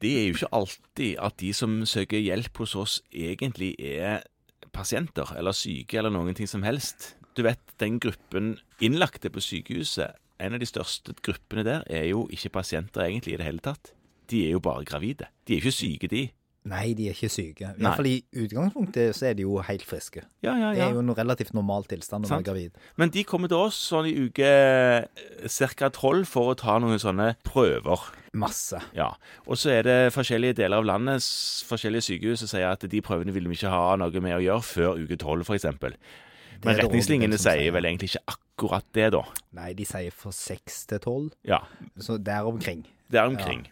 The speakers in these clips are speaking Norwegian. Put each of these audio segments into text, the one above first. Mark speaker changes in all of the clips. Speaker 1: Det er jo ikke alltid at de som søker hjelp hos oss, egentlig er pasienter eller syke eller noen ting som helst. Du vet, den gruppen innlagte på sykehuset, en av de største gruppene der, er jo ikke pasienter egentlig i det hele tatt. De er jo bare gravide. De er ikke syke, de.
Speaker 2: Nei, de er ikke syke. I
Speaker 1: Nei.
Speaker 2: hvert fall i utgangspunktet så er de jo helt friske.
Speaker 1: Ja, ja,
Speaker 2: Det
Speaker 1: ja.
Speaker 2: er jo en relativt normal tilstand når man
Speaker 1: Sant.
Speaker 2: er gravid.
Speaker 1: Men de kommer til oss sånn i uke ca. tolv for å ta noen sånne prøver.
Speaker 2: Masse.
Speaker 1: Ja, og så er det forskjellige deler av landet, s- forskjellige sykehus, som sier at de prøvene vil vi ikke ha noe med å gjøre før uke 12, f.eks. Men
Speaker 2: det
Speaker 1: retningslinjene
Speaker 2: rådet som
Speaker 1: sier
Speaker 2: sier.
Speaker 1: vel egentlig ikke akkurat det, da.
Speaker 2: Nei, de sier fra seks til tolv,
Speaker 1: Ja,
Speaker 2: så der omkring.
Speaker 1: der omkring.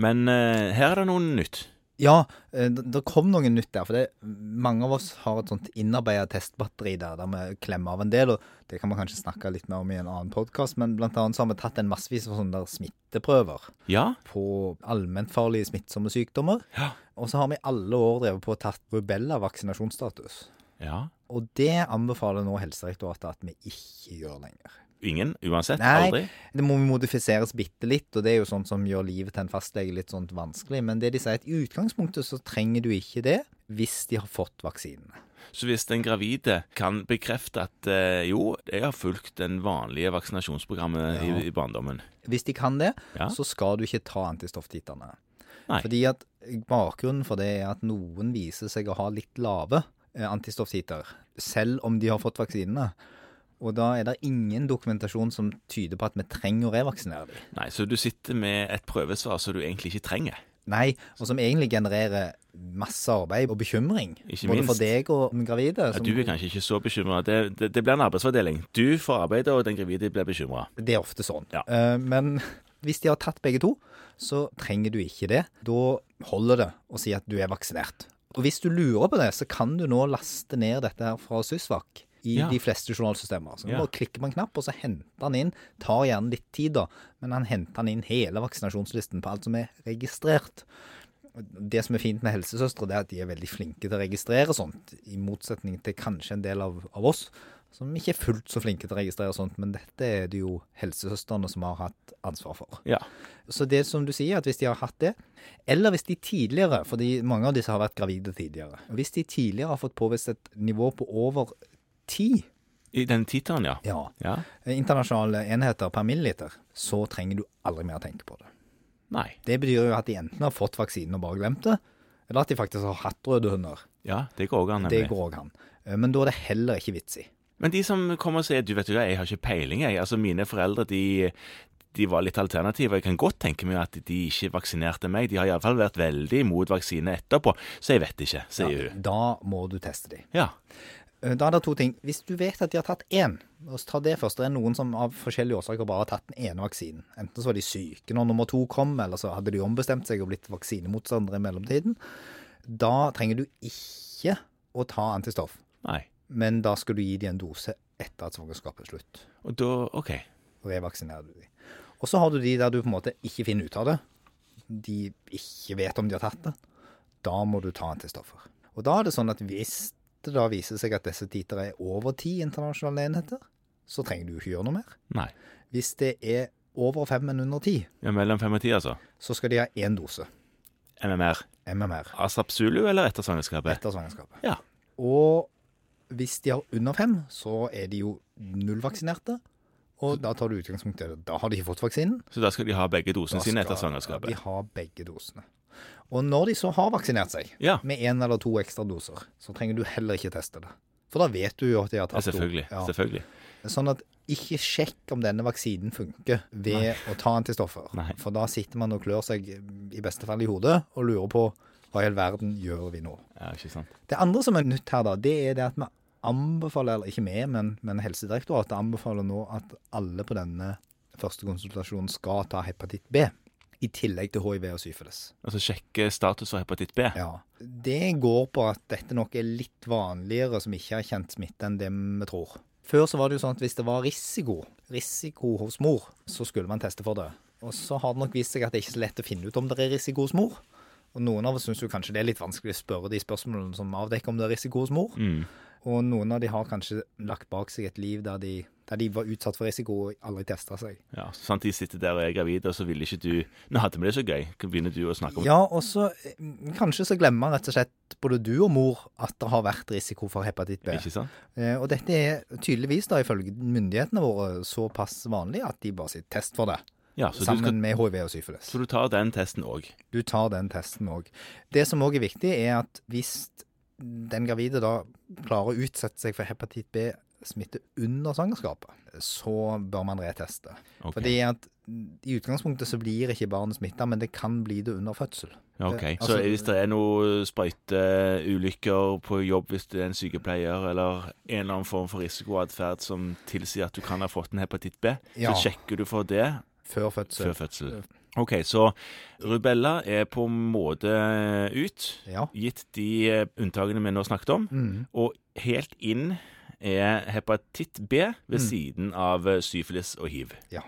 Speaker 1: Men eh, her er det noe nytt.
Speaker 2: Ja, eh, d- det kom noe nytt der. For det, mange av oss har et sånt innarbeida testbatteri der, der vi klemmer av en del. Og det kan man kanskje snakke litt mer om i en annen podkast, men blant annet så har vi tatt en massevis av sånne der smitteprøver
Speaker 1: Ja,
Speaker 2: på allmennfarlige smittsomme sykdommer.
Speaker 1: Ja.
Speaker 2: Og så har vi i alle år drevet på og tatt rubella-vaksinasjonsstatus.
Speaker 1: ja.
Speaker 2: Og det anbefaler nå Helsedirektoratet at vi ikke gjør lenger.
Speaker 1: Ingen, uansett.
Speaker 2: Nei.
Speaker 1: Aldri.
Speaker 2: Det må modifiseres bitte litt, og det er jo sånt som gjør livet til en fastlege litt sånt vanskelig. Men det de sier, at i utgangspunktet så trenger du ikke det hvis de har fått vaksinene.
Speaker 1: Så hvis den gravide kan bekrefte at eh, jo, jeg har fulgt den vanlige vaksinasjonsprogrammet
Speaker 2: Ja.
Speaker 1: i, i barndommen.
Speaker 2: Hvis de kan det,
Speaker 1: Ja.
Speaker 2: så skal du ikke ta antistofftiterne.
Speaker 1: Nei.
Speaker 2: Fordi at bakgrunnen for det er at noen viser seg å ha litt lave eh, antistofftiter, selv om de har fått vaksinene. Og da er det ingen dokumentasjon som tyder på at vi trenger å revaksinere dem.
Speaker 1: Nei, så du sitter med et prøvesvar som du egentlig ikke trenger.
Speaker 2: Nei, og som egentlig genererer masse arbeid og bekymring.
Speaker 1: Ikke
Speaker 2: både for
Speaker 1: minst.
Speaker 2: deg og den gravide.
Speaker 1: Ja,
Speaker 2: som-
Speaker 1: du er kanskje ikke så bekymra. Det, det, det blir en arbeidsfordeling. Du får arbeide, og den gravide blir bekymra.
Speaker 2: Det er ofte sånn.
Speaker 1: Ja.
Speaker 2: Eh, men hvis de har tatt begge to, så trenger du ikke det. Da holder det å si at du er vaksinert. Og hvis du lurer på det, så kan du nå laste ned dette her fra Sysvak i
Speaker 1: Ja.
Speaker 2: de fleste journalsystemer. Så
Speaker 1: Ja.
Speaker 2: Bare klikker på en knapp, og så henter han inn. Tar gjerne litt tid, da, men han henter han inn hele vaksinasjonslisten på alt som er registrert. Det som er fint med helsesøstre, det er at de er veldig flinke til å registrere sånt, i motsetning til kanskje en del av, av oss, som ikke er fullt så flinke til å registrere sånt, men dette er det jo helsesøstrene som har hatt ansvar for.
Speaker 1: Ja.
Speaker 2: Så det som du sier, at hvis de har hatt det, eller hvis de tidligere, fordi mange av disse har vært gravide tidligere, hvis de tidligere har fått påvist et nivå på over 10,
Speaker 1: I den tittelen, ja.
Speaker 2: ja,
Speaker 1: ja.
Speaker 2: internasjonale enheter per milliliter, så trenger du aldri mer tenke på det.
Speaker 1: Nei.
Speaker 2: Det betyr jo at de enten har fått vaksinen og bare glemt det, eller at de faktisk har hatt røde hunder.
Speaker 1: Ja, det går an,
Speaker 2: Det
Speaker 1: nemlig.
Speaker 2: går òg an. Eh, Men da er det heller ikke vits i.
Speaker 1: Men de som kommer og sier du vet du hva, jeg har ikke peiling, jeg. Altså mine foreldre, de, de var litt alternative. Jeg kan godt tenke meg at de ikke vaksinerte meg. De har iallfall vært veldig imot vaksine etterpå, så jeg vet ikke, sier hun.
Speaker 2: Da må du teste de.
Speaker 1: Ja.
Speaker 2: Eh, Da er det to ting. Hvis du vet at de har tatt én, la oss ta det først. Det er noen som av forskjellige årsaker bare har tatt den ene vaksinen. Enten så var de syke når nummer to kom, eller så hadde de ombestemt seg og blitt vaksinemotstandere i mellomtiden. Da trenger du ikke å ta antistoff,
Speaker 1: Nei.
Speaker 2: men da skal du gi dem en dose etter at svangerskapet er slutt.
Speaker 1: Og da OK.
Speaker 2: revaksinerer du de. Og så har du de der du på en måte ikke finner ut av det. De ikke vet om de har tatt det. Da må du ta antistoffer. Og da er det sånn at hvis det da viser seg at disse titer er over ti internasjonale enheter, så trenger du ikke gjøre noe mer.
Speaker 1: Nei.
Speaker 2: Hvis det er over fem, men under ti,
Speaker 1: Ja, mellom fem og ti, altså.
Speaker 2: så skal de ha én dose
Speaker 1: MMR.
Speaker 2: MMR
Speaker 1: ASAP Zulu eller etter svangerskapet?
Speaker 2: etter svangerskapet.
Speaker 1: Ja.
Speaker 2: Og hvis de har under fem, så er de jo nullvaksinerte. Og da tar du utgangspunkt i det. Da har de ikke fått vaksinen.
Speaker 1: Så da skal de ha begge dosene
Speaker 2: Da
Speaker 1: sine etter
Speaker 2: skal De
Speaker 1: svangerskapet?
Speaker 2: har begge dosene. Og når de så har vaksinert seg,
Speaker 1: Ja.
Speaker 2: med én eller to ekstra doser, så trenger du heller ikke teste det. For da vet du jo at de har
Speaker 1: Ja,
Speaker 2: tatt
Speaker 1: selvfølgelig.
Speaker 2: to. Ja.
Speaker 1: Selvfølgelig.
Speaker 2: Sånn at ikke sjekk om denne vaksinen funker ved å ta antistoffer.
Speaker 1: Nei.
Speaker 2: For da sitter man og klør seg i beste fall i hodet og lurer på hva i all verden gjør vi nå?
Speaker 1: Ja, ikke sant.
Speaker 2: Det andre som er nytt her, da, det er det at vi anbefaler, eller ikke vi, men, men Helsedirektoratet anbefaler nå at alle på denne første konsultasjonen skal ta hepatitt B. I tillegg til hiv og syfilis.
Speaker 1: Altså sjekke status for hepatitt B.
Speaker 2: Ja. Det går på at dette nok er litt vanligere som ikke har kjent smitte, enn det vi tror. Før så var det jo sånn at hvis det var risiko, risiko hos mor, så skulle man teste for det. Og så har det nok vist seg at det er ikke så lett å finne ut om det er risiko hos mor. Og noen av oss syns jo kanskje det er litt vanskelig å spørre de spørsmålene som avdekker om det er risiko hos mor.
Speaker 1: Mm.
Speaker 2: Og noen av de har kanskje lagt bak seg et liv der de, der de var utsatt for risiko og aldri testa seg.
Speaker 1: Ja, sant, De sitter der og jeg er gravid, og så ville ikke du Nå hadde vi det så gøy. Begynner du å snakke om
Speaker 2: Ja, og så eh, kanskje så glemmer rett og slett både du og mor at det har vært risiko for hepatitt B.
Speaker 1: Ikke sant?
Speaker 2: Eh, Og dette er tydeligvis da ifølge myndighetene våre såpass vanlig at de bare sier test for det,
Speaker 1: Ja, så Altså, du,
Speaker 2: sammen
Speaker 1: skal,
Speaker 2: med hiv og syfilis.
Speaker 1: så du tar den testen òg.
Speaker 2: Du tar den testen òg. Det som òg er viktig, er at hvis den gravide da klarer å utsette seg for hepatitt B-smitte under svangerskapet, så bør man reteste.
Speaker 1: Ok.
Speaker 2: Fordi at i utgangspunktet så blir ikke barnet smitta, men det kan bli det under fødsel.
Speaker 1: Ok,
Speaker 2: Eh,
Speaker 1: Så
Speaker 2: altså-
Speaker 1: hvis det er noen sprøyteulykker på jobb hvis du er en sykepleier, eller en eller annen form for risikoatferd som tilsier at du kan ha fått en hepatitt B,
Speaker 2: Ja.
Speaker 1: så sjekker du for det
Speaker 2: Før fødsel.
Speaker 1: før fødsel. OK, så rubella er på en måte ut,
Speaker 2: Ja.
Speaker 1: gitt de eh, unntakene vi nå snakket om.
Speaker 2: Mm.
Speaker 1: Og helt inn er hepatitt B ved
Speaker 2: Mm.
Speaker 1: siden av eh, syfilis og hiv.
Speaker 2: Ja.